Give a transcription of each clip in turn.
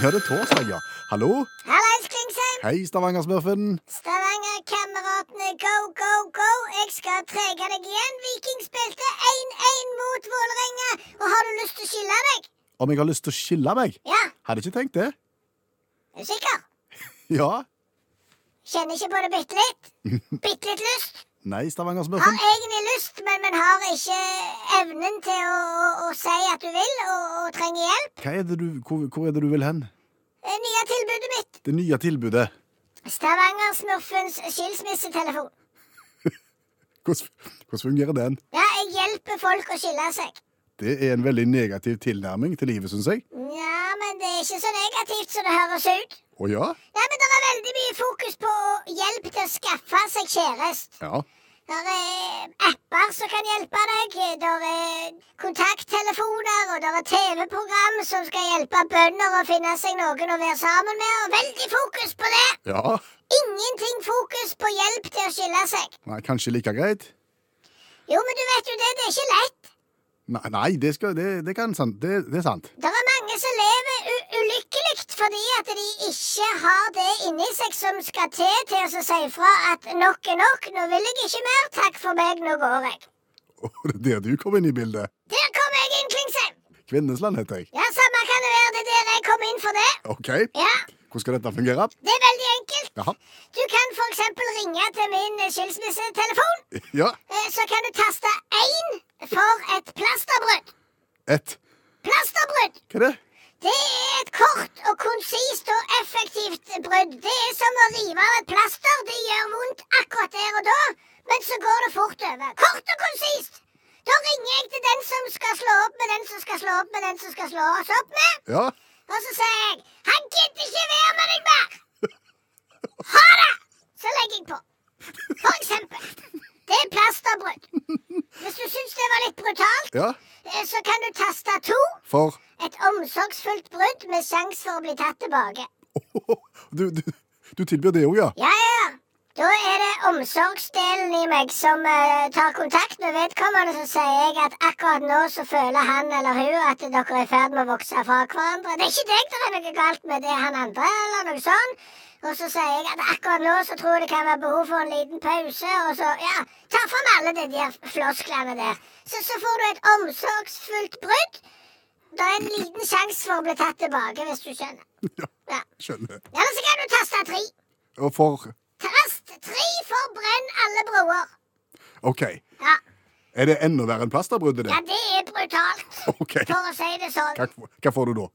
Ja, det er torsdag, ja. Hallo? Hallais, Klingsheim! Hei, Stavanger-smurfen. Stavanger-kameratene, go, go, go! Jeg skal trege deg igjen. Viking spilte 1-1 mot Vålerenga. Og har du lyst til å skille deg? Om jeg har lyst til å skille meg? Ja, Hadde ikke tenkt det. er du sikker? Ja. Kjenner ikke på det bitte litt? Bitte litt lyst? Nei, Har Stavanger-smurfen. egentlig lyst, men, men har ikke evnen til å, å, å si at du vil, og, og trenger hjelp. Hva er det du, hvor, hvor er det du vil hen? Det nye tilbudet mitt. Det nye tilbudet. Stavanger-smurfens skilsmissetelefon. Hvordan, hvordan fungerer den? Ja, jeg hjelper folk å skille seg. Det er en veldig negativ tilnærming til livet, syns jeg. Ja, men det er ikke så negativt som det høres ut. Å ja? Nei, men det er veldig mye fokus på å hjelp til å skaffe seg kjæreste. Ja. Det er eh, apper som kan hjelpe deg, det er eh, kontakttelefoner, og det er TV-program som skal hjelpe bønder å finne seg noen å være sammen med, og veldig fokus på det! Ja. Ingenting fokus på hjelp til å skille seg. Nei, kanskje like greit? Jo, men du vet jo det, det er ikke lett. Nei, nei det, skal, det, det, kan, sant, det, det er sant. Det er mange som lever u ulykkelig fordi at de ikke har det inni seg som skal til til å si fra at nok er nok, nå vil jeg ikke mer, takk for meg, nå går jeg. Og det er der du kom inn i bildet. Der kom jeg inn, Klingsheim! Kvinnesland heter jeg. Ja, samme kan det være, det er der jeg kom inn for det. OK, Ja, hvordan skal dette fungere? det er veldig enkelt. Jaha. Du kan for eksempel ringe til min eh, skilsmissetelefon. Ja. Eh, Så kan du taste én for et plasterbrudd. Et. Plasterbrudd! Hva er det? Det er et kort og konsist og effektivt brudd. Det er som å rive av et plaster. Det gjør vondt akkurat der og da, men så går det fort over. Kort og konsist! Da ringer jeg til den som skal slå opp med den som skal slå opp med den som skal slå oss opp med, Ja. og så sier jeg 'Han gidder ikke være med deg mer'. Ha det! Så legger jeg på. For eksempel. Det er plasterbrudd. Hvis du syns det var litt brutalt, Ja. eh, så kan du taste to. For Et omsorgsfullt brudd med sjanse for å bli tatt tilbake. du, du, du tilbyr det òg, ja? Ja, ja, ja. Da er det omsorgsdelen i meg som eh, tar kontakt med vedkommende, så sier jeg at akkurat nå så føler han eller hun at dere er i ferd med å vokse fra hverandre. Det er ikke deg det er noe galt med, det er han andre, eller noe sånn. Og så sier jeg at akkurat nå så tror jeg det kan være behov for en liten pause, og så ja, ta fram alle de der flosklene der. Så, så får du et omsorgsfullt brudd. Det er en liten sjanse for å bli tatt tilbake, hvis du skjønner. Ja, Ja. skjønner. Eller så kan du taste tre. Og for Tast tre for brenn alle broer. OK. Ja, Er det enda verre enn plasterbruddet, ja det? det er brutalt, OK. for å si det sånn. Hva, hva får du da?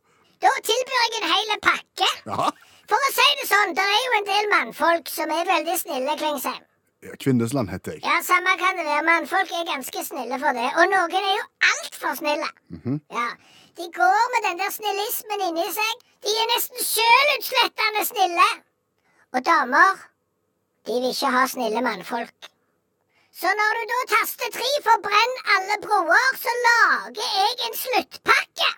Da tilbyr jeg en hel pakke. Jaha. For å si det sånn, det er jo en del mannfolk som er veldig snille, Klingsheim. Ja, Kvinnesland heter jeg. Ja, samme kan det være, mannfolk er ganske snille for det. Og noen er jo altfor snille. Mhm. Ja, De går med den der snillismen inni seg. De er nesten sjølutslettende snille. Og damer, de vil ikke ha snille mannfolk. Så når du da taster tre for brenn alle broer, så lager jeg en sluttpakke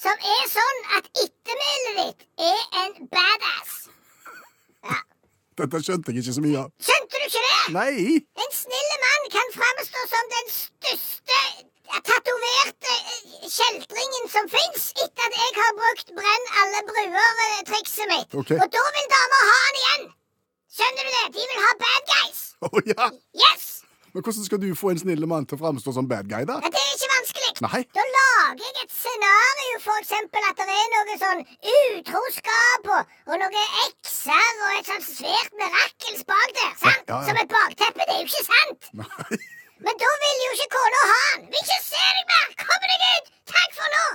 som er sånn at ettermælet ditt er en badass. Dette skjønte jeg ikke så mye av. Skjønte du ikke det? Nei! En snille mann kan framstå som den største tatoverte eh, kjeltringen som fins, etter at jeg har brukt brenn alle bruer-trikset mitt. Ok. Og da vil damer ha han igjen! Skjønner du det? De vil ha bad guys! Å ja! Yes! Men hvordan skal du få en snill mann til å framstå som bad guy, da? Ja, Det er ikke vanskelig. Nei. Da lager jeg et scenario, for eksempel at det er noe sånn utroskap og, og noe ekser og et sånt svært mirakels bak der, sant? Ja, ja. Som et bakteppe. Det er jo ikke sant! Nei. Men da vil jo ikke kona ha han! Vil ikke se deg mer! Kom deg ut! Takk for nå!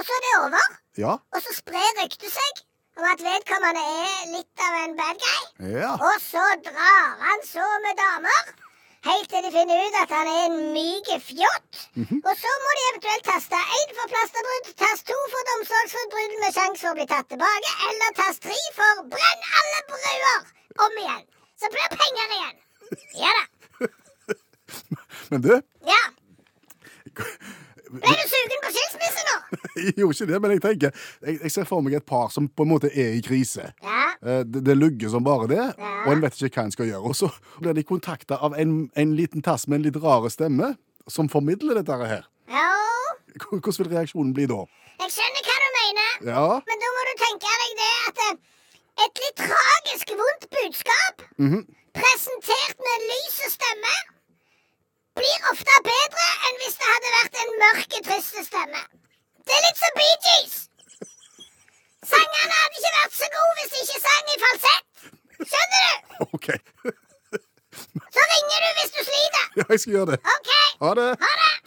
Og så er det over. Ja. Og så sprer ryktet seg om at vedkommende er litt av en bad guy. Ja. Og så drar han så med damer. Helt til de finner ut at han er en myk fjott. Og så må de eventuelt taste én for plasterbrudd, tast to for omsorgsforbrudd med sjanse for å bli tatt tilbake, eller tast tre for brenn alle bruer om igjen. Så blir det penger igjen. Ja da. Men du, Ja. Ble du sugen på skilsmisse nå? jeg gjorde ikke det, men jeg tenker jeg, jeg ser for meg et par som på en måte er i krise. Ja. Eh, Det, det lugger som bare det, Ja. og en vet ikke hva en skal gjøre. Og så blir de kontakta av en, en liten tass med en litt rare stemme, som formidler dette her. Jo. Hvordan vil reaksjonen bli da? Jeg skjønner hva du mener. Ja, Men da må du må du tenke deg det at eh, et litt tragisk vondt budskap, Mhm. presentert med en lys stemme, blir ofte bedre enn hvis det hadde vært en mørk, trist stemme. Det er litt som Bee Gees. Sangene hadde ikke vært så gode hvis de ikke sang i falsett. Skjønner du? OK. Så ringer du hvis du sliter. Ja, jeg skal gjøre det. OK. Ha det. Ha det.